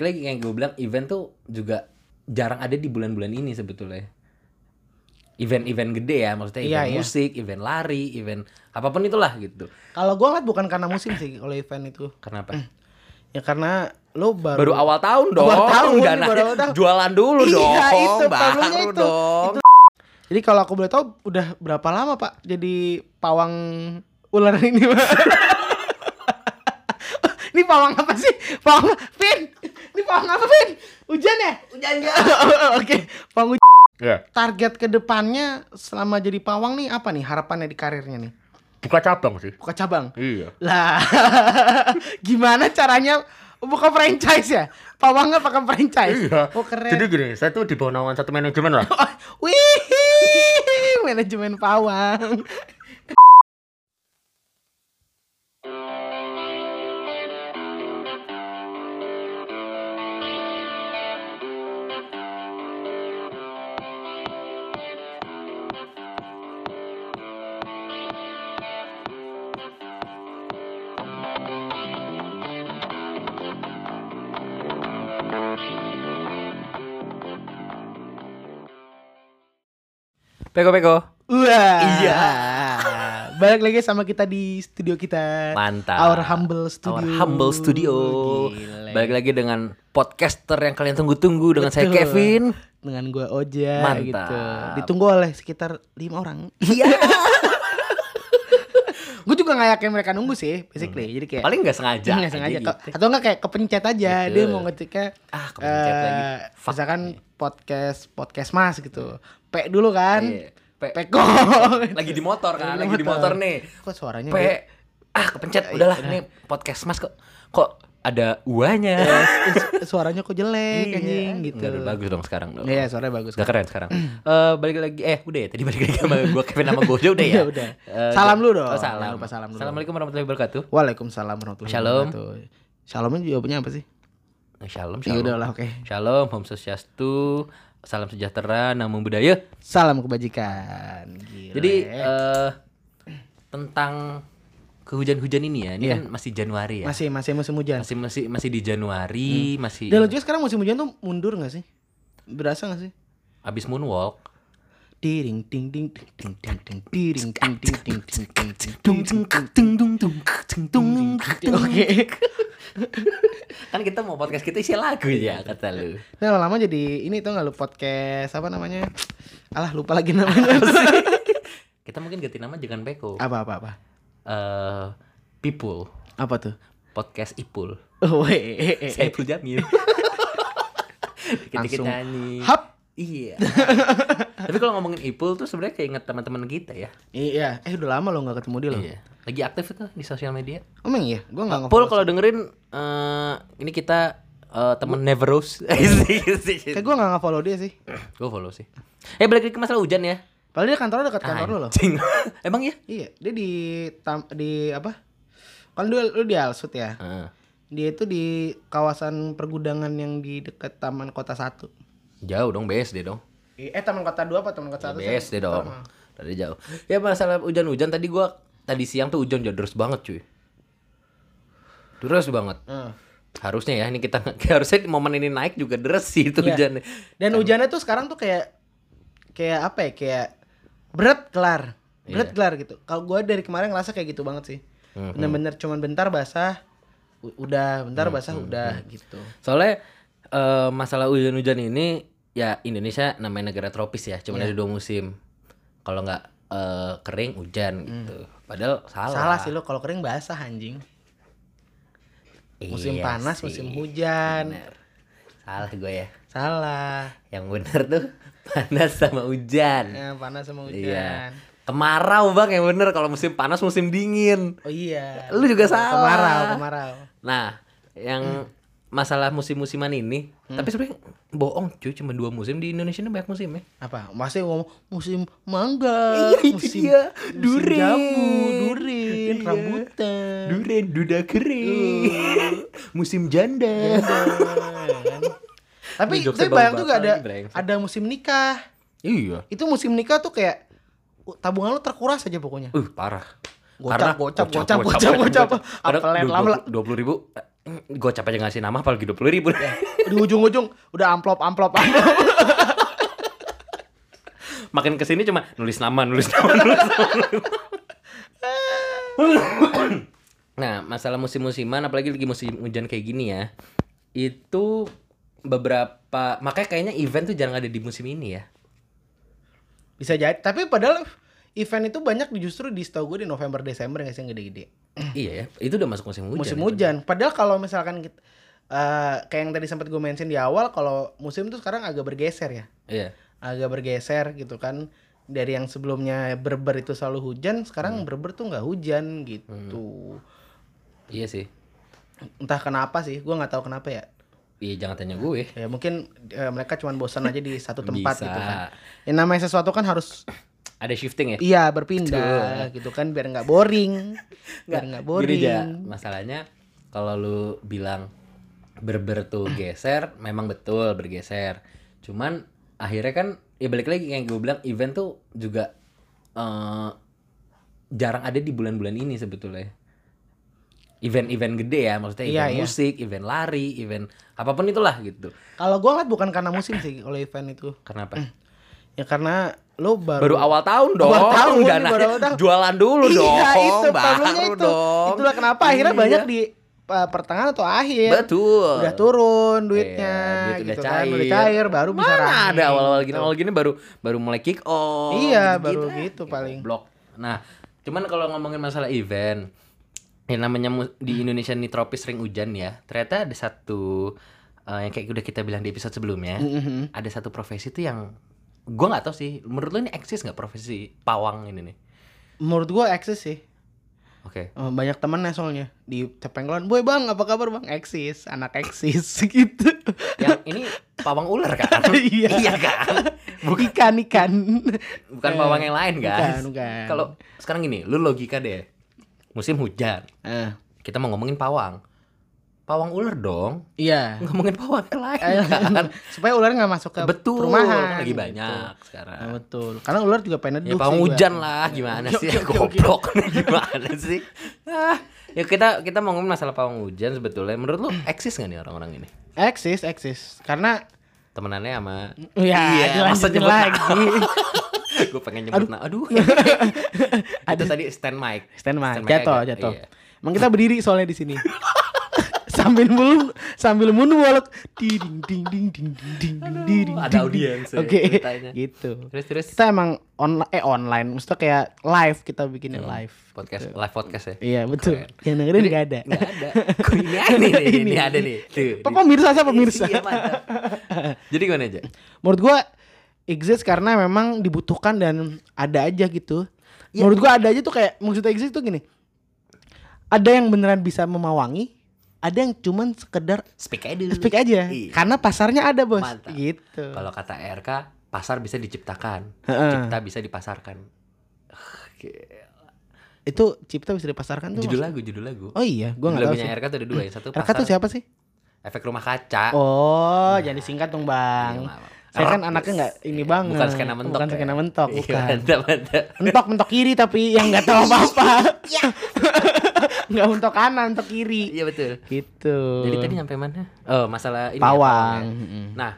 lagi yang gue bilang event tuh juga jarang ada di bulan-bulan ini sebetulnya. Event-event gede ya, maksudnya Iya, event iya. musik, event lari, event apapun itulah gitu. Kalau gua ngeliat bukan karena musim sih kalau event itu. Kenapa? Ya karena lu baru, Baru awal tahun dong. Awal tahun, dan baru awal tahun. jualan dulu Iya, dong. itu, problemnya baru itu. dong. Jadi kalau aku boleh tahu udah berapa lama Pak jadi pawang ular ini Pak? ini pawang apa sih? Pawang Vin. Ini pawang apa Vin? Hujan ya? Hujan ya. Oke, pawang hujan. Iya. Target kedepannya selama jadi pawang nih apa nih harapannya di karirnya nih? Buka cabang sih. Buka cabang. Iya. Lah, gimana caranya buka franchise ya? Pawang nggak pakai franchise? Iya. Oh keren. gini, saya tuh di bawah naungan satu manajemen lah. Wih, manajemen pawang. Peko-peko. Wah. Iya. Balik lagi sama kita di studio kita. Mantap. Our humble studio. Our humble studio. Gile. Balik lagi dengan podcaster yang kalian tunggu-tunggu dengan saya Betul. Kevin. Dengan gue Oja Mantap. gitu. Ditunggu oleh sekitar lima orang. Iya. gue juga gak yakin mereka nunggu sih, basically. Jadi kayak Paling nggak sengaja. nggak Iya. sengaja aja Ke- gitu. atau enggak kayak kepencet aja dia Betul. mau ngetiknya Ah, kepencet eh, lagi. Fuck. misalkan podcast podcast mas gitu P dulu kan Iya. P- Peko Lagi di motor kan, Lagi Iya, lagi di motor nih. kok suaranya ya? P ah kepencet Iya, udahlah nih podcast Mas kok kok ada uanya. Eh, suaranya kok jelek anjing gitu bagus dong sekarang Iya. dong. Iya, Hmm. suaranya bagus. Udah keren sekarang. Eh balik lagi eh udah ya tadi balik lagi sama gua Kevin sama Gojo udah ya. Udah, Iya, udah. Eh, Salam udah. lu dong. Oh, Jangan salam. lupa salam dulu. Assalamualaikum warahmatullahi wabarakatuh. Waalaikumsalam warahmatullahi Shalom. wabarakatuh. Shalomnya jawabannya apa sih? Eh, Shalom, Ya shalom. udah lah, oke. Shalom, Om Swastiastu, salam sejahtera, namo budaya. Salam kebajikan. ya. Gile. Jadi eh tentang kehujan-hujan ini ya, ini Iya. kan masih Januari ya. masih Hmm. masih musim hujan. Masih masih masih di Januari, masih Dan lo juga sekarang musim hujan tuh mundur gak sih? Berasa gak sih? abis moonwalk. Tiring ting ting ting ting ting ting tiring ting ting ting ting ting ting Dung, dung, dung, dung, dung, dung, dung, ting. dung. Oke. Kan kita mau podcast kita isi lagu ya kata lu. Nah, lama-lama jadi ini tuh nggak lu podcast apa namanya? Alah lupa lagi namanya. Kita mungkin ganti nama jangan Peko. Eh apa apa apa? people Apa tuh? podcast Ipul. Oh, eh, eh, eh, eh. Saya Ipul Jamil. Dikit-dikit Langsung, nyanyi. Hap. Iya. Tapi kalau ngomongin Ipul tuh sebenarnya kayak inget teman-teman kita ya. Iya, eh udah lama lo nggak ketemu dia lo. Iya. Lagi aktif itu di sosial media. Emang iya, gua nggak Pul ngefollow. kalau dengerin eh, ini kita eh, temen Never Rose. Iya. Kayak gua nggak ngefollow dia sih. Gue follow sih. Eh balik lagi ke masalah hujan ya. Padahal dia kantornya dekat kantor lu loh. Anjing. Emang ya? Iya, dia di tam, di apa? Kan lu, lu di Alsut ya. Dia itu di kawasan pergudangan yang di dekat Taman Kota 1. Jauh dong BSD dong. Eh, Taman Kota 2 apa Taman Kota 1? BSD dong. Tadi jauh. Ya masalah hujan-hujan tadi gua tadi siang tuh hujan jauh deras banget cuy. Deras banget. Harusnya ya ini kita harusnya di momen ini naik juga deras sih itu Iya. hujannya. Dan hujannya tuh sekarang tuh kayak kayak apa ya? Kayak berat kelar. Iya. Berat kelar gitu. Kalau gua dari kemarin ngerasa kayak gitu banget sih. Hmm. Bener-bener cuman bentar basah u- udah, bentar Hmm. basah udah gitu. Soalnya eh, masalah hujan-hujan ini ya Indonesia namanya negara tropis ya, Iya. cuma ada dua musim. Kalau nggak eh, kering hujan gitu. Padahal salah. Hmm. Salah sih lo kalau kering basah anjing. Musim Iya panas, sih, musim hujan. bener. Salah gue ya. Salah. Yang bener tuh panas sama hujan. Eh, panas sama hujan. Iya. Kemarau bang yang bener kalau musim panas musim dingin. Oh iya. Lu juga salah. Kemarau, kemarau. Nah, Hmm. yang masalah musim-musiman ini, tapi sebenarnya bohong cuy, cuma dua musim di Indonesia ini banyak musim ya. Apa? Masih ngomong musim mangga, Iya, itu musim, dia. musim Durian. jambu, durian, Iya. rambutan. Duren duda Uh. kering. musim Hmm. janda. tapi Ini jokesnya tapi bayang bau juga bapak ada lagi, brengsek. ada musim nikah. Iya. Itu musim nikah tuh kayak uh, tabungan lu terkuras aja pokoknya. Uh, parah. Gocap, gocap, gocap, gocap, gocap. Apel yang lama- dua puluh ribu gue capek aja ngasih nama apalagi dua puluh ribu di ujung-ujung udah amplop amplop amplop makin kesini cuma nulis nama nulis nama nulis nama, nulis nama. nah masalah musim-musiman apalagi lagi musim hujan kayak gini ya itu beberapa makanya kayaknya event tuh jarang ada di musim ini ya bisa jadi tapi padahal event itu banyak di- justru di setahu gue di November Desember nggak sih yang gede-gede iya ya itu udah masuk musim hujan musim hujan padahal kalau misalkan kita, eh, kayak yang tadi sempat gue mention di awal kalau musim tuh sekarang agak bergeser ya iya agak bergeser gitu kan dari yang sebelumnya berber itu selalu hujan sekarang Hmm. berber tuh nggak hujan gitu iya sih entah kenapa sih gue nggak tahu kenapa ya iya jangan tanya gue ya mungkin eh, mereka cuman bosan aja di satu tempat Bisa. gitu kan yang namanya sesuatu kan harus ada shifting ya iya berpindah gitu kan biar nggak boring biar nggak Gini, Ja. boring masalahnya kalau lu bilang berber tuh geser, memang betul bergeser. Cuman akhirnya kan ya balik lagi yang gue bilang event tuh juga eh, jarang ada di bulan-bulan ini sebetulnya. Event-event gede ya, maksudnya Iya, event iya. musik, event lari, event apapun itulah gitu. kalau gue ngeliat bukan karena musim sih kalau event itu Kenapa? ya karena lo baru Baru awal tahun dong. Awal tahun, nggak baru nanya. awal tahun. Jualan dulu iya, dong. itu problemnya baru itu. dong. Itulah kenapa akhirnya Iya. banyak di uh, pertengahan atau akhir. Betul. Udah turun duitnya Iya, duit udah gitu kan, udah cair. cair baru bisa Mana running, ada awal-awal gini, gitu. awal gini baru baru mulai kick off. Iya, gitu-gitu. baru Ah, gitu paling. Blok. Nah, cuman kalau ngomongin masalah event, yang namanya mu- di Indonesia nih tropis sering hujan ya. Ternyata ada satu eh, yang kayak udah kita bilang di episode sebelumnya, Mhm. ada satu profesi tuh yang gua nggak tahu sih. Menurut lu ini eksis nggak profesi pawang ini nih? Menurut gua eksis sih. Oke. Eh, Banyak temennya soalnya di cepengloan. Boy bang, apa kabar bang? Eksis, anak eksis gitu. Yang ini pawang ular kan? Iya. kan? Ikan ikan. Bukan pawang yang lain, guys. Eh, Bukan, bukan. Kalau sekarang gini, lu logika deh. Musim hujan, Eh, kita mau ngomongin pawang. Pawang ular dong. iya. Ngomongin pawang yang lain Eh, kan. supaya ular nggak masuk ke Betul. perumahan kan lagi gitu. banyak Nah, sekarang. betul. Karena ular juga pengen Ya neduh pawang sih gua. hujan lah gimana Oke, sih oke, oke, oke. goblok gimana sih? Ah, ya kita kita mau ngomongin masalah pawang hujan sebetulnya. Menurut lu eksis nggak nih orang-orang ini? Eksis, eksis. Karena Temenannya sama Ya, Iya, masa dilanjutin nyebut lagi. gue pengen nyebut nama. Aduh. Itu tadi stand mic. stand mic, mic-nya jatuh, agak- jatuh. iya. Emang kita berdiri soalnya di sini. sambil mulu sambil moonwalk di ding ding ding ding ding ding ding ding ding, ada ding. audiens ya oke ceritanya. gitu Terus terus kita emang on eh online maksudnya kayak live kita bikinnya live podcast live podcast ya. iya betul Hmm. Keren. yang dengerin nggak ada Iya. Nggak ada. Kok ini ada nih, ini, Ini. ada nih. Tuh. Apa pemirsa saya pemirsa Iya, mantap. Jadi gimana aja? menurut gua exist karena memang dibutuhkan dan ada aja gitu. Ya, Menurut iya. gua ada aja tuh kayak maksudnya exist tuh gini. Ada yang beneran bisa memawangi, ada yang cuman sekedar Speak aja dulu. speak aja. Iya. Karena pasarnya ada, Bos. Mantap. Gitu. Kalau kata RK, pasar bisa diciptakan. Heeh. Cipta bisa dipasarkan. Oke. Itu cipta bisa dipasarkan tuh. Judul maksud- lagu, judul lagu. Oh iya, gua judul enggak tahu lagunya sih. RK tuh ada dua, yang satu Raka tuh pasar, siapa sih? efek rumah kaca. Oh, jangan disingkat dong, Ah. Iya, Bang. maaf. Saya kan Rock, anaknya yes. nggak ini Iya, banget. Bukan skena mentok. Bukan ya. skena mentok, Iya, bukan. Mantap, mantap. mentok mentok kiri tapi yang nggak tahu apa-apa. Nggak mentok kanan, mentok kiri. Iya betul. gitu Jadi tadi nyampe mana? Oh, masalah ini ya, pawang ya. Nah,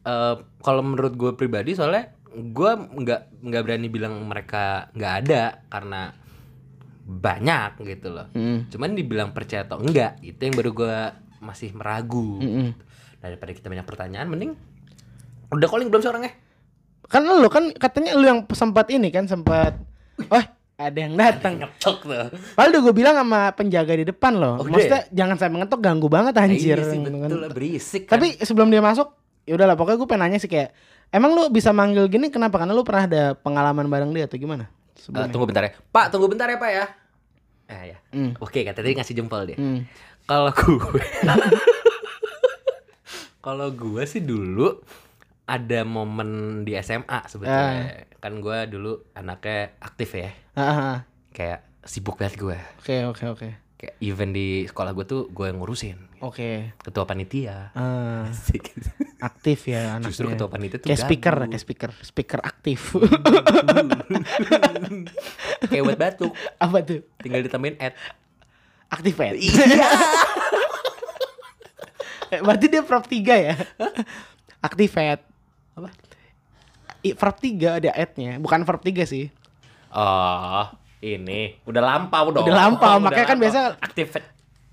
eh, kalau menurut gue pribadi soalnya gue nggak nggak berani bilang mereka nggak ada karena banyak gitu loh. Hmm. Cuman dibilang percaya atau enggak itu yang baru gue masih meragu. Hmm. Daripada kita banyak pertanyaan, mending udah calling belum sih orangnya? kan lu kan katanya lu yang sempat ini kan sempat oh ada yang datang Ngetok tuh. padahal udah gue bilang sama penjaga di depan loh Oh, maksudnya jangan sampai ngetok ganggu banget anjir Iya sih, gitu kan. betul lah, berisik. kan. tapi sebelum dia masuk ya udahlah pokoknya gue pengen nanya sih kayak emang lu bisa manggil gini kenapa karena lu pernah ada pengalaman bareng dia atau gimana Eh, sebelumnya tunggu bentar ya. Pak, tunggu bentar ya, Pak ya. Eh ya. Hmm. Oke, kata tadi ngasih jempol dia. Hmm. Kalau gue Kalau gue sih dulu ada momen di SMA sebetulnya. Kan gue dulu anaknya aktif ya. Ah, ah, ah. Kayak sibuk banget gue. oke oke oke Kayak event di sekolah gue tuh gue yang ngurusin. oke Ketua panitia. Ah, Asik. aktif ya anaknya Justru ketua panitia tuh kayak speaker gabut. kayak speaker speaker aktif Kayak buat batuk. apa tuh Tinggal ditambahin ad. aktif ya Iya. Eh, Berarti dia prop 3 ya? Activate. Apa? I, verb 3 ada ad-nya, bukan verb 3 sih. Oh, ini udah lampau dong. Udah lampau, makanya kan biasa- aktif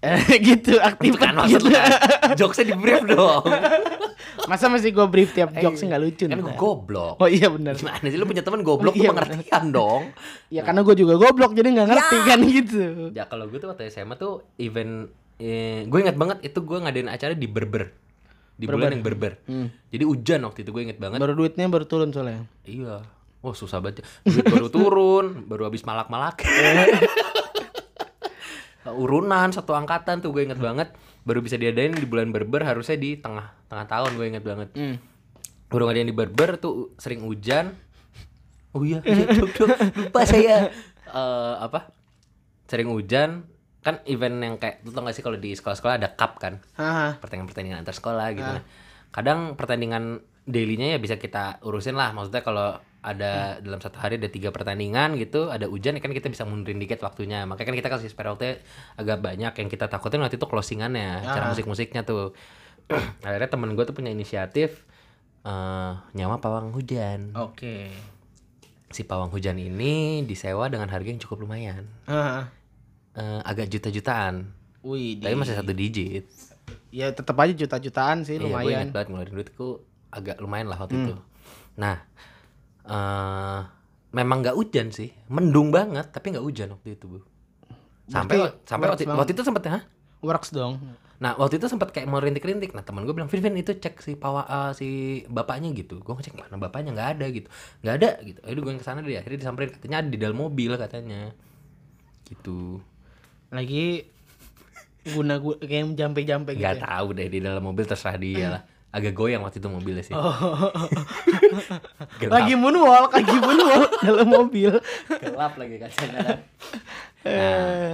Eh, itu gitu, activate kan maksud lu gitu. kan. Jokesnya di brief dong. Masa masih gue brief tiap jokes nggak lucu Kan gue ntar. goblok. Oh iya benar. Gimana sih lu punya teman goblok tuh Iya, pengertian dong. Ya karena gue juga goblok jadi nggak ngerti kan gitu. Ya kalau gue tuh waktu SMA tuh event eh, gue ingat banget itu gue ngadain acara di Berber. Di bulan yang Berber. Hmm. Jadi hujan waktu itu gue inget banget. Baru duitnya baru turun soalnya. Iya. Wah susah banget. Duit baru turun, baru habis malak-malak. Urunan satu angkatan tuh gue inget banget. Baru bisa diadain di bulan Berber harusnya di tengah tengah tahun gue inget banget. Baru ngadain di Berber tuh sering hujan. Oh iya, iya, dok, dok. lupa saya. Eh, apa? Sering hujan kan event yang kayak lu tau gak sih kalau di sekolah-sekolah ada cup kan Haha. pertandingan-pertandingan antar sekolah gitu. nah. Kadang pertandingan dailynya ya bisa kita urusin lah. Maksudnya kalau ada dalam satu hari ada tiga pertandingan gitu, ada hujan ya kan kita bisa mundurin dikit waktunya. Makanya kan kita kasih spare waktunya agak banyak. Yang kita takutin waktu itu closingannya, cara musik-musiknya tuh. Akhirnya temen gue tuh punya inisiatif eh, nyawa pawang hujan. Oke. Si pawang hujan ini disewa dengan harga yang cukup lumayan. Haha. Eh, agak juta-jutaan. Wih, Tapi masih satu digit. ya tetap aja juta-jutaan sih Iya, gue ingat lumayan. Hmm. banget ngeluarin duitku agak lumayan lah waktu itu. Nah, eh memang nggak hujan sih, mendung banget, tapi nggak hujan waktu itu bu. Sampai Berarti sampai works waktu, banget. waktu itu sempet ya. Works dong. Nah waktu itu sempet kayak mau rintik-rintik. Nah teman gue bilang, Vin, Vin itu cek si pawa eh, si bapaknya gitu. Gue ngecek mana bapaknya nggak ada gitu, nggak ada gitu. Akhirnya gue yang kesana deh, akhirnya disamperin katanya ada di dalam mobil katanya. Gitu. Oh, Lagi guna guna kayak jampe-jampe gitu. Nggak ya. Hmm. tahu deh di dalam mobil terserah dia lah. Agak goyang waktu itu mobilnya sih. Gelap. Oh, lagi moonwalk, lagi moonwalk dalam mobil. gelap lagi kacanya kan. Eh.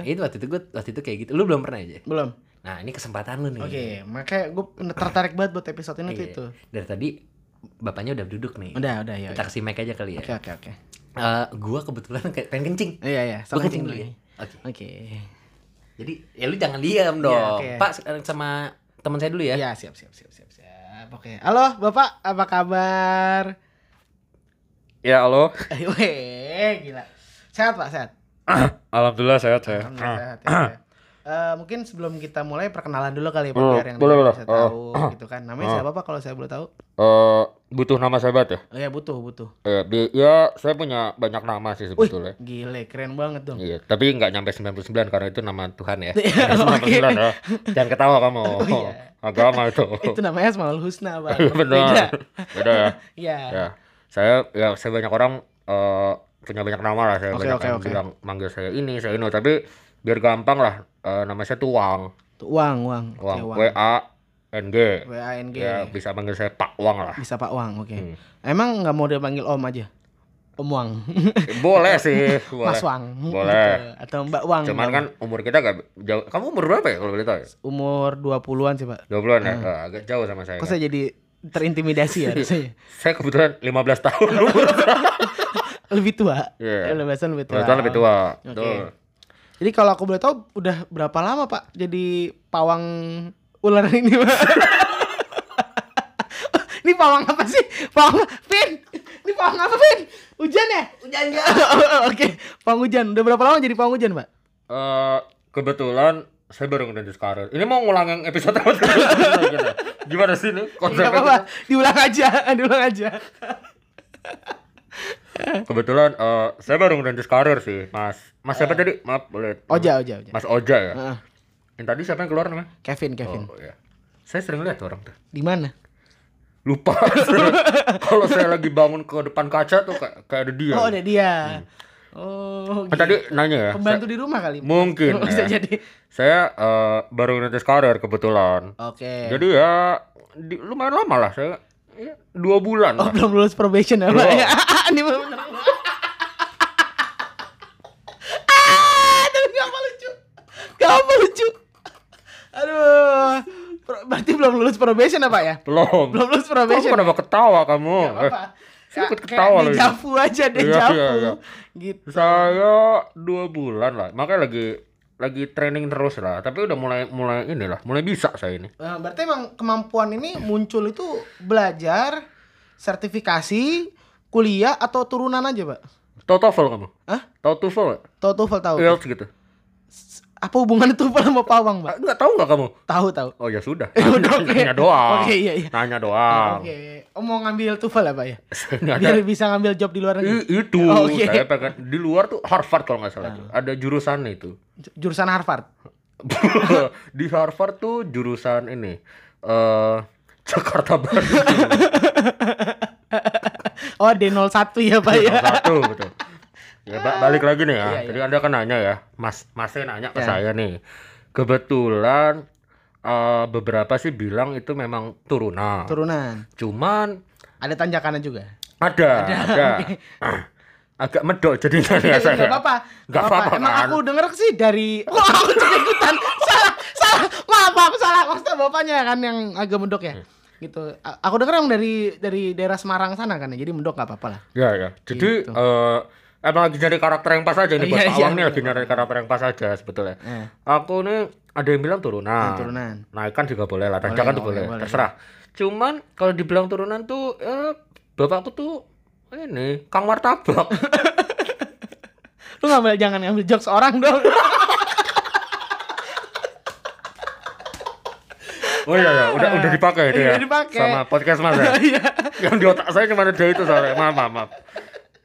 Nah, itu waktu itu gue waktu itu kayak gitu. Lu belum pernah aja. Belum. Nah, ini kesempatan lu nih. Oke, makanya gue tertarik banget buat episode ini tuh Iya. itu. Dari tadi bapaknya udah duduk nih. Udah, udah ya. Kita kasih mic aja kali ya. Oke, oke, oke. Eh, gua kebetulan kayak pengen kencing. Iya, iya. Gua Salah kencing dulu dulu ya. ya. Oke. Oke. Jadi, ya lu jangan diam dong. Iya, oke. Pak eh, sama teman saya dulu ya. Iya, siap, siap, siap, siap, siap. Oke. Halo, Bapak, apa kabar? Ya halo, Eh, Weh, gila. Sehat, Pak, sehat. alhamdulillah sehat saya. Alhamdulillah sehat ya. Eh, mungkin sebelum kita mulai perkenalan dulu kali ya Pak Boleh, biar yang boleh, lain boleh. bisa Oh. tahu gitu kan. Namanya Oh. siapa Pak kalau saya boleh tahu? Eh, butuh nama saya banget ya? Oh ya butuh, butuh. Eh, di- ya saya punya banyak nama sih Wih, sebetulnya. gile, keren banget dong. Iya, tapi nggak nyampe 99 karena itu nama Tuhan ya. Iya, Nyampe 99 ya. Jangan ketawa kamu. Oh, iya. Agama itu. Itu namanya Asmaul Husna, Pak. Beda. Benar. Beda ya. Iya. Ya. Saya ya saya banyak orang eh, punya banyak nama lah saya Oke, banyak oke, yang oke. bilang manggil saya ini, saya ini, tapi biar gampang lah eh, nama saya tuh Wang. Tuh, Wang, Wang. Oke, Wang. Wang. W A N G. W A N G. Ya, bisa manggil saya Pak Wang lah. Bisa Pak Wang, oke. Hmm. Emang nggak mau dipanggil Om aja? Om Wang. Boleh sih, boleh. Mas Wang. Boleh. Gitu. Atau Mbak Wang. Cuman kan umur kita agak jauh. Kamu umur berapa ya kalau boleh tahu? ya? umur 20-an sih, Pak. 20-an ya? Eh, agak jauh sama saya. Hmm. Kok kan? saya jadi terintimidasi ya rasanya? Saya kebetulan 15 tahun umur. Lebih tua. Eh, Iya. Lebih lebih tua. Kebetulan lebih tua. Oke. Tuh. Jadi kalau aku boleh tahu udah berapa lama Pak jadi pawang ular ini Pak? ini pawang apa sih? Pawang Vin. Ini pawang apa Vin? Hujan ya? Hujan ya. Oke, pawang hujan. Udah berapa lama jadi pawang hujan Pak? Eh, kebetulan saya baru ngedengar sekarang. Ini mau ngulang yang episode apa? Gimana sih ini Gak konsepnya? apa-apa, diulang aja, diulang aja. Kebetulan eh, saya baru ngedengar sekarang sih, Mas. Mas siapa tadi? Maaf, Eh. boleh. Oja, oja, oja. Mas Oja ya. Heeh. Yang tadi siapa yang keluar namanya? Kevin, Kevin. Oh, iya. Saya sering lihat orang tuh. Di mana? lupa kalau saya lagi bangun ke depan kaca tuh kayak, kayak ada dia Oh, ada dia. Hmm. Oh, Kan tadi gitu. nanya ya pembantu saya- di rumah kali. mungkin Oh, bisa ya. jadi. saya eh, baru notice karir kebetulan Oke. jadi ya di- lumayan lama lah saya ya, dua bulan Oh, lah. belum lulus probation ya, Pak? Belum. Ini bener. Ah, tapi gak apa lucu. Gak apa lucu. Aduh. Pro- Berarti belum lulus probation apa ya? belum Belum lulus kamu probation. kenapa ketawa kamu Gak apa-apa. Eh, saya ikut Kayak- ketawa kayak loh ini. Dejavu aja, Iya, dejavu. iya, iya. Gitu. saya dua bulan lah makanya lagi lagi training terus lah tapi udah mulai mulai inilah mulai bisa saya ini Nah, berarti emang kemampuan ini muncul itu belajar, sertifikasi, kuliah atau turunan aja, Pak? tau TOEFL kamu Hah? tau TOEFL nggak? Tahu TOEFL tahu. IELTS gitu Apa hubungannya TOEFL sama pawang, Pak? Ah, nggak tahu nggak kamu Tahu tahu. oh ya sudah Eh, udah, oke. nanya doang Oke, iya, iya. nanya doang Oke, oh, mau ngambil TOEFL ya, Pak ya? Nggak ada. Biar bisa ngambil job di luar negeri. I- itu Oh, oke. Ah. saya pengen di luar tuh Harvard kalau nggak salah tuh. ada jurusan itu J- Jurusan Harvard. di Harvard tuh jurusan ini eh Jakarta Barat Oh, D01 ya, Pak ya. satu betul ya ba- balik lagi nih Iya, ya jadi anda kan nanya ya mas masnya nanya ke saya nih kebetulan eh, beberapa sih bilang itu memang turunan Turunan. cuman Ada tanjakannya juga. ada ada, Ah, agak medok jadinya ya Enggak saya Iya, apa-apa. Nggak apa-apa Emang kan? aku denger sih dari Wah, aku juga ikutan. salah, salah. Maaf, maaf, salah. Maksudnya bapaknya kan yang agak mendok ya. Hmm. Gitu. A- Aku denger emang dari dari daerah Semarang sana kan ya. Jadi mendok nggak apa-apa lah. Ya ya. Jadi eh, emang lagi nyari karakter yang pas aja nih Gitu. Iya, buat iya, Pak Awang nih lagi nyari karakter yang pas aja sebetulnya. Eh. Aku nih ada yang bilang turunan. Ah, turunan. Naikkan juga boleh lah, tanjakan tuh boleh, boleh, boleh. terserah. Cuman kalau dibilang turunan tuh eh, bapakku tuh ini Kang Martabak. Lu nggak boleh jangan ngambil jokes orang dong. oh iya, iya, udah udah dipakai itu Iya, ya. dipakai. Sama podcast Mas ya. Iya. yang di otak saya cuma ada itu soalnya. Maaf, maaf, maaf.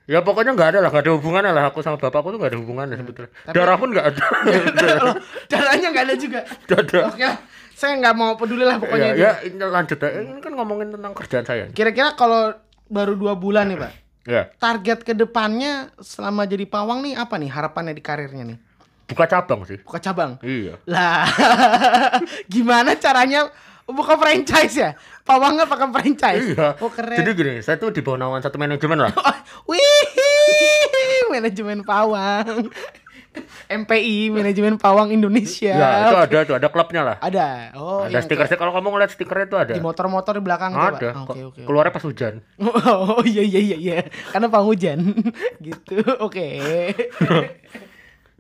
Ya pokoknya nggak ada lah, nggak ada hubungannya lah. Aku sama bapakku tuh nggak ada hubungannya Hmm. sebetulnya. Darah pun nggak ada. Iya. Loh, Caranya nggak ada juga. Nggak ada. Oke. lah. Ya, Saya nggak mau peduli lah pokoknya Ya, itu. ya, ini lanjut ya. Ini kan ngomongin tentang kerjaan saya. Kira-kira kalau baru dua bulan nih, Pak. Ya, Target ke depannya selama jadi pawang nih apa nih harapannya di karirnya nih? buka cabang sih. Buka cabang. Iya. Lah, gimana caranya buka franchise ya? Pawang nggak pakai franchise? Iya. Oh keren. Jadi gini, saya tuh di bawah naungan satu manajemen lah. Oh, Wih, manajemen pawang. MPI, manajemen pawang Indonesia. Ya, itu ada tuh, ada klubnya lah. Ada. Oh, ada yang stiker stiker kalau kamu ngeliat stikernya itu ada. di motor-motor di belakang tuh, Pak. Ada. Ah, Oke, Kok- oke. Keluarnya pas hujan. Oh iya iya iya iya. Karena pawang hujan. gitu. Oke.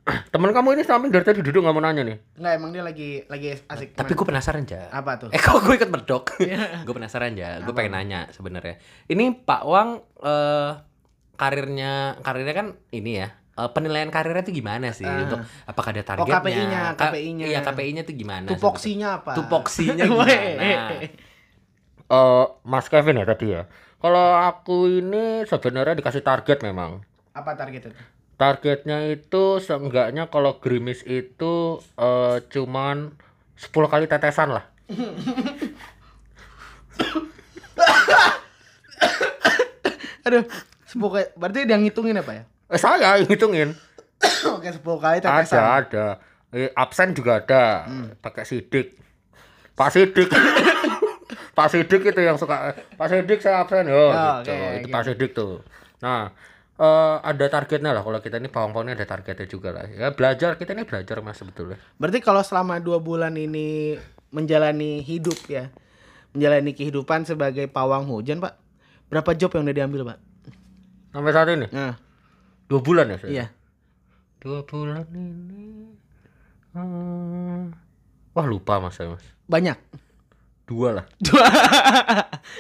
Temen kamu ini samping dari tadi duduk nggak mau nanya nih. Nggak emang dia lagi lagi asik. Tapi gue penasaran ja. apa tuh? Eh kok gue ikut merdok? Iya. gue penasaran ja. Gue pengen nanya sebenarnya. Ini Pak Wang eh, karirnya karirnya kan ini ya. eh, penilaian karirnya tuh gimana sih? Ah. Untuk apakah Oh, ada targetnya? KPI-nya, Ka- KPI-nya. Iya, KPI-nya tuh gimana? nah, Tupoksinya apa? Tupoksinya Weh. gimana? Eh, Mas Kevin ya tadi ya. Kalau aku ini sebenarnya dikasih target memang. apa target itu? Targetnya itu seenggaknya kalau gerimis itu eh, cuman 10 kali tetesan lah. Aduh, sepuluh kali. Berarti dia ngitungin apa ya? Eh, saya ngitungin. Oke, sepuluh kali ada tetesan. Hmm. ada Eh, absen juga ada pakai sidik pak sidik pak sidik itu yang suka pak sidik saya absen yo Oh, gitu. oke, itu pak sidik tuh nah eh, ada targetnya lah kalau kita ini pawang-pawangnya ada targetnya juga lah ya belajar kita ini belajar mas sebetulnya Berarti kalau selama dua bulan ini menjalani hidup ya, menjalani kehidupan sebagai pawang hujan, Pak. Berapa job yang udah diambil, Pak? sampai saat ini Nah, dua bulan ya saya? iya. dua bulan ini eh, wah lupa mas saya mas Banyak. dua lah Dua.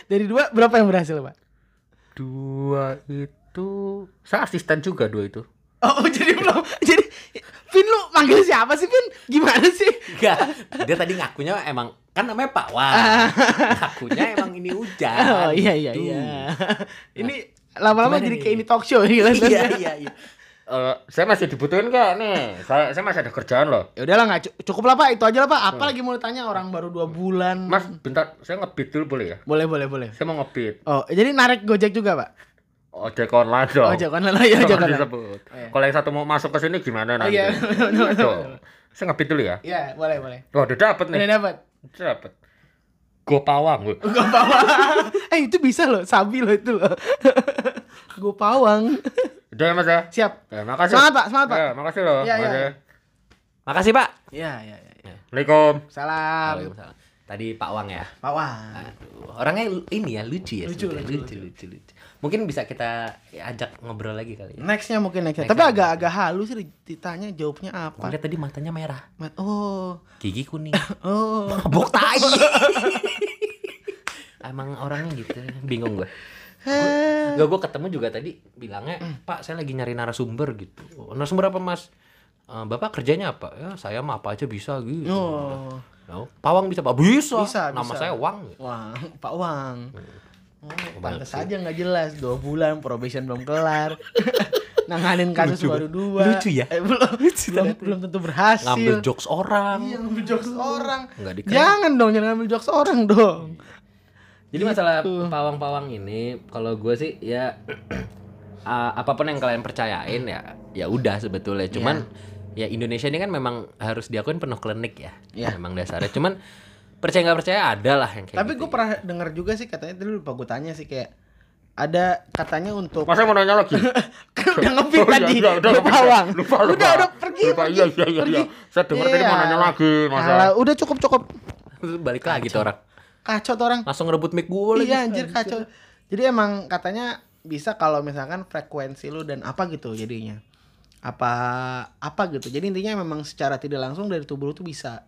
Dari dua berapa yang berhasil, Pak? dua itu saya asisten juga dua itu Oh, jadi belum. Jadi Vin lu manggil siapa sih, Vin? Gimana sih? Enggak, dia tadi ngakunya emang kan namanya Pak Wang. ngakunya emang ini hujan. Ah. Oh, iya iya gitu. iya. Ini lama-lama Gimana jadi nih? kayak ini talk show ya. ini kelihatannya. iya iya iya. Eh, saya masih dibutuhin nggak nih? Saya, saya masih ada kerjaan loh. Ya udahlah nggak cu- cukup lah pak itu aja lah pak. Apa Iya. lagi mau ditanya orang baru dua bulan. Mas, bentar, saya ngebit dulu boleh ya? Boleh boleh boleh. Saya mau ngebit. Oh jadi narik gojek juga pak? Ojek online Oh. dong. Ojek online lah ya Jangan ojek online. disebut. Kalau yang satu mau masuk ke sini gimana nanti? iya. Tuh. Saya ngebit dulu ya. Iya boleh boleh. Loh, udah dapet nih. Udah dapat. Udah dapet. Gue pawang gue. Gue pawang. eh itu bisa loh sabi loh itu loh. Gue pawang. Udah ya mas ya? Siap. Ya, makasih. Semangat, Pak, semangat, Pak. Ya, makasih loh. Iya, iya, Makasih. Makasih Pak. Iya iya. Ya. Assalamualaikum. Salam. Waalaikumsalam. Tadi Pak Wang ya. Pak Wang. Aduh, orangnya lu- ini ya lucu ya. Lucu, sebenarnya. lucu, lucu, lucu, lucu. Mungkin bisa kita ajak ngobrol lagi kali ya. Nextnya mungkin nextnya. Nextnya Tapi agak-agak halus sih ditanya jawabnya apa. Lihat tadi matanya merah, Mat- Oh, gigi kuning, oh. mabok tai. Emang orangnya gitu, bingung gue. Eh, Enggak, gue ketemu juga tadi bilangnya, Pak saya lagi nyari narasumber gitu. "Oh, Narasumber apa mas? "Eh, Bapak kerjanya apa? Ya saya mah apa aja bisa gitu. Oh. "Oh, Pak Wang bisa pak? Bisa. Bisa, Nama bisa. saya Wang. Wang, Pak Wang. Oh, pantas sih. aja nggak jelas. Dua bulan probation belum kelar. Nanganin kasus baru dua. Lucu ya? Eh, belum, belum, belum tentu berhasil. Ngambil jokes orang. Iya, ngambil jokes orang. Nggak dikasih. Jangan dong, jangan ngambil jokes orang dong. Jadi masalah Gitu. pawang-pawang ini, kalau gue sih ya ah, apapun yang kalian percayain ya, ya udah sebetulnya. Iya. Cuman ya Indonesia ini kan memang harus diakuin penuh klinik ya, Iya. memang dasarnya. Cuman percaya nggak percaya ada lah yang kayak Tapi gitu. gue pernah dengar juga sih katanya tadi lupa gue tanya sih kayak ada katanya untuk Masa mau nanya lagi? kan udah ngepit Oh, iya, tadi iya, udah Lu ngepit. bawang. Lupa, lupa. udah udah pergi Lupa, pergi, iya, iya, iya, pergi. iya. Saya dengar tadi mau Iya. nanya lagi, masa. Alah, udah cukup cukup balik lagi tuh orang, kacau tuh Iya, orang langsung ngerebut mic gue lagi. iya anjir kacau jadi emang katanya bisa kalau misalkan frekuensi lu dan apa gitu jadinya apa apa gitu jadi intinya memang secara tidak langsung dari tubuh lu tuh bisa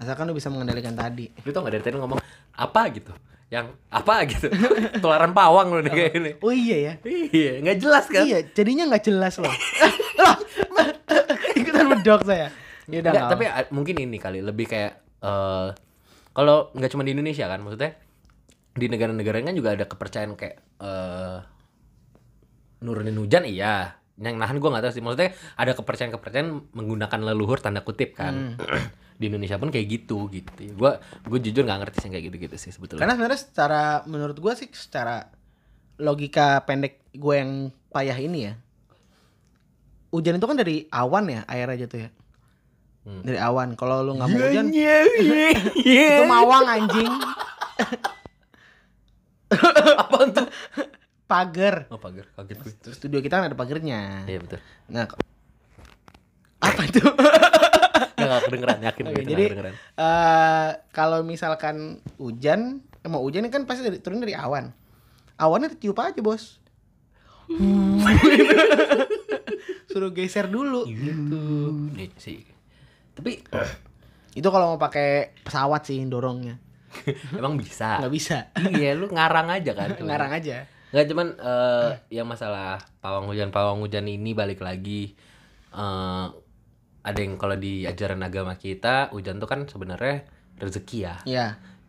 asalkan lu bisa mengendalikan tadi Lu tau nggak dari tadi ngomong apa gitu? Yang apa gitu? Tularan pawang lu nih kayak ini. oh iya ya Iya, nggak jelas kan? iya jadinya nggak jelas loh Loh, ikutan bedok saya ya udah Nggak, nggak tapi a- mungkin ini kali lebih kayak eh kalau nggak cuma di Indonesia kan maksudnya di negara-negara lain kan juga ada kepercayaan kayak eh nurunin hujan iya yang nahan gua nggak tahu sih maksudnya ada kepercayaan-kepercayaan menggunakan leluhur tanda kutip Hmm. kan di Indonesia pun kayak gitu gitu gua gue jujur nggak ngerti sih yang kayak gitu-gitu sih sebetulnya Karena sebenarnya secara menurut gua sih secara logika pendek gue yang payah ini ya. Hujan itu kan dari awan ya, air aja tuh ya. Hmm. Iya, Dari awan. Kalau lu nggak mau hujan, Yeah, yeah, yeah. itu mawang anjing, apa tuh pagar. oh pagar kaget gue Terus studio kita kan ada pagernya. iya betul Nah, ko- apa itu? nggak nggak kedengeran yakin Oke, gue itu nggak jadi kedengeran eh, kalau misalkan hujan, emang hujan kan pasti dari, turun dari awan. Awannya tiup aja bos. Suruh geser dulu. gitu nih sih tapi Itu kalau mau pakai pesawat sih dorongnya. emang bisa Nggak bisa. iya lu ngarang aja kan Ngarang aja. nggak cuman eh yang masalah pawang hujan pawang hujan ini balik lagi eh ada yang kalau di ajaran agama kita hujan tuh kan sebenarnya rezeki ya Iya.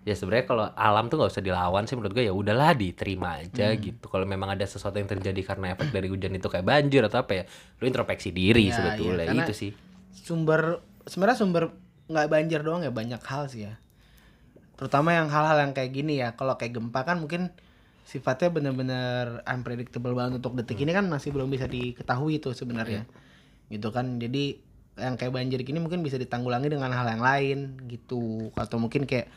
ya sebenarnya kalau alam tuh nggak usah dilawan sih menurut gue ya udahlah diterima aja Hmm. gitu kalau memang ada sesuatu yang terjadi karena efek dari hujan itu kayak banjir atau apa ya lu introspeksi diri Ya, sebetulnya iya, karena- itu sih Sumber sebenarnya sumber nggak banjir doang ya banyak hal sih ya. Terutama yang hal-hal yang kayak gini ya. Kalau kayak gempa kan mungkin sifatnya bener-bener unpredictable banget untuk detik ini kan masih belum bisa diketahui tuh sebenarnya. Gitu kan. Jadi yang kayak banjir gini mungkin bisa ditanggulangi dengan hal yang lain gitu atau mungkin kayak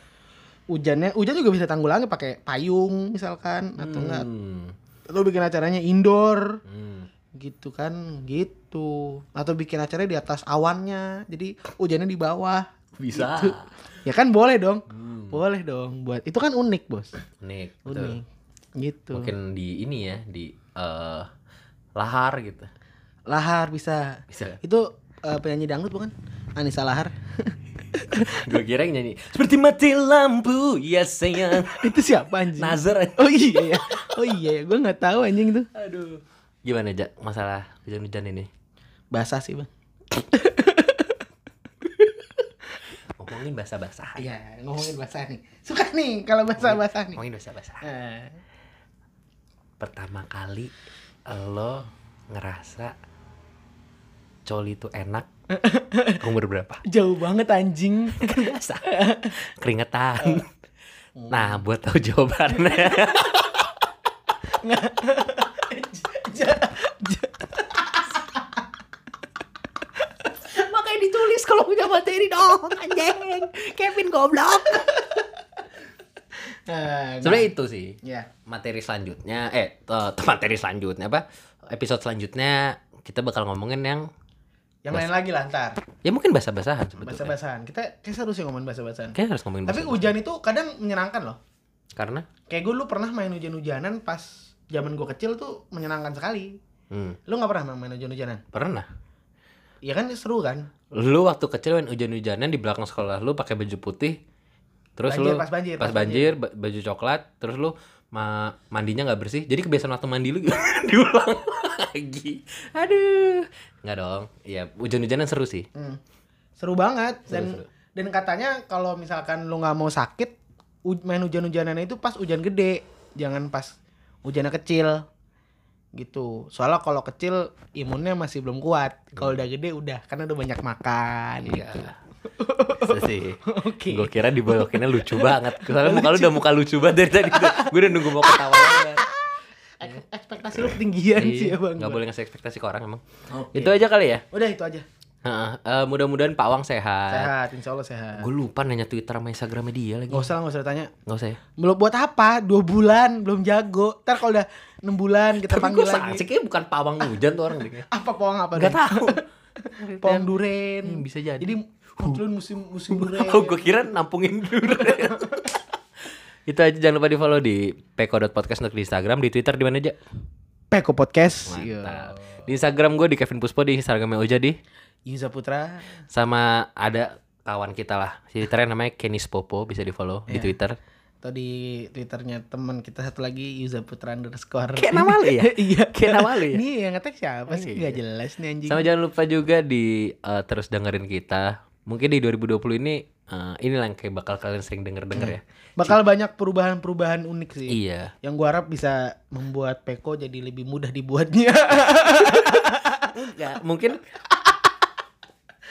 hujannya hujan juga bisa ditanggulangi pakai payung misalkan atau enggak Hmm, lu bikin acaranya indoor hmm. gitu kan gitu atau bikin acaranya di atas awannya jadi hujannya di bawah bisa Gitu. ya kan boleh dong Hmm. boleh dong buat itu kan unik bos Nih, betul. unik gitu mungkin di ini ya di eh lahar gitu lahar bisa bisa itu eh, penyanyi dangdut bukan Anissa Lahar gue kira yang nyanyi seperti mati lampu ya sayang itu siapa anjing Nazar oh iya ya oh iya ya gue nggak tahu anjing itu aduh gimana jak masalah hujan-hujan ini basah sih bang ngomongin bahasa basah iya ngomongin basah nih Oh, suka nih kalau basah basah nih ngomongin bahasa basah Eh, pertama kali lo ngerasa coli itu enak umur berapa jauh banget anjing kan basah Eh. keringetan nah buat tahu Nah. jawabannya makanya ditulis kalau punya materi dong anjing Kevin goblok Eh, sebenarnya itu sih ya materi selanjutnya eh eh, materi selanjutnya apa episode selanjutnya kita bakal ngomongin yang Yang lain lagi lah ntar. Ya mungkin basah-basahan sebetulnya. Bahasa-basahan. Kita kita harusnya ngomongin bahasa-basahan. Kayaknya harus ngomongin Tapi basah. hujan itu kadang menyenangkan loh. Karena Kayak gue lu pernah main hujan-hujanan pas zaman gue kecil tuh menyenangkan sekali. hmm, Lu nggak pernah main hujan-hujanan? pernah. Iya kan seru kan? Lu waktu kecil main hujan-hujanan di belakang sekolah lu pakai baju putih. Terus Banjir, lu pas banjir, pas pas banjir, ba- baju coklat, terus lu ma- mandinya nggak bersih. Jadi kebiasaan waktu mandi lu diulang lagi. Aduh. Nggak dong. Iya, hujan-hujanan seru sih. Hmm. Seru banget dan seru. dan katanya kalau misalkan lu nggak mau sakit u- main hujan-hujanan itu pas hujan gede, jangan pas hujannya kecil gitu. Soalnya kalau kecil imunnya masih belum kuat. Kalau udah gede udah karena udah banyak makan Iya. gitu. Itu sih. Oke. Gue kira dibolokinnya lucu banget. Soalnya muka lu udah muka lucu banget dari tadi. Gue udah nunggu mau ketawa banget. Ek- ekspektasi lu ketinggian sih Iya, ya Bang. nggak boleh ngasih ekspektasi ke orang emang. Oke. Itu aja kali ya. Udah itu aja. Heeh. Eh, mudah-mudahan Pak Wang sehat. Sehat, insya Allah sehat. Gue lupa nanya Twitter sama Instagramnya dia lagi. Gak usah lah, gak usah ditanya. Nggak usah ya. Belum buat apa? Dua bulan, belum jago. Ntar kalau udah 6 bulan Tapi kita panggil gue lagi. sakit bukan pawang hujan tuh orang. Gak Apa pohon apa? Dren? tahu. Pohon duren. Hmm, bisa jadi. Jadi munculin musim musim duren. Oh, gue kira nampungin durian. Itu aja jangan lupa di follow di peko.podcast untuk di Instagram, di Twitter di mana aja. Peko Podcast. Iya. Mantap. Di Instagram gue di Kevin Puspo di Instagramnya Oja di Yuza Putra. sama ada kawan kita lah. Si Twitternya namanya Kenis Popo bisa di follow di Iya. Twitter. Atau di Twitternya teman kita satu lagi Yuza Putra underscore. Kayak nama lu ya? Iya. Kayak nama lu ya? Nih yang ngetek siapa sih? Iya. Gak jelas nih anjing. Sama jangan lupa juga di eh, terus dengerin kita. Mungkin di 2020 ini eh, inilah yang kayak bakal kalian sering denger-denger ya. Bakal banyak perubahan-perubahan unik sih. Iya. Yang gua harap bisa membuat Peko jadi lebih mudah dibuatnya. Enggak, mungkin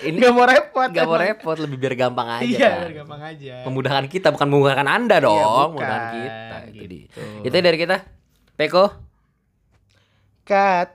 ini Gak mau repot. nggak mau emang. repot, lebih biar gampang aja. Iya, kan? biar gampang aja. Iya, Memudahkan kita bukan memudahkan Anda dong, gitu. bukan, memudahkan kita. Itu, di- gitu. itu dari kita. Peko Cut.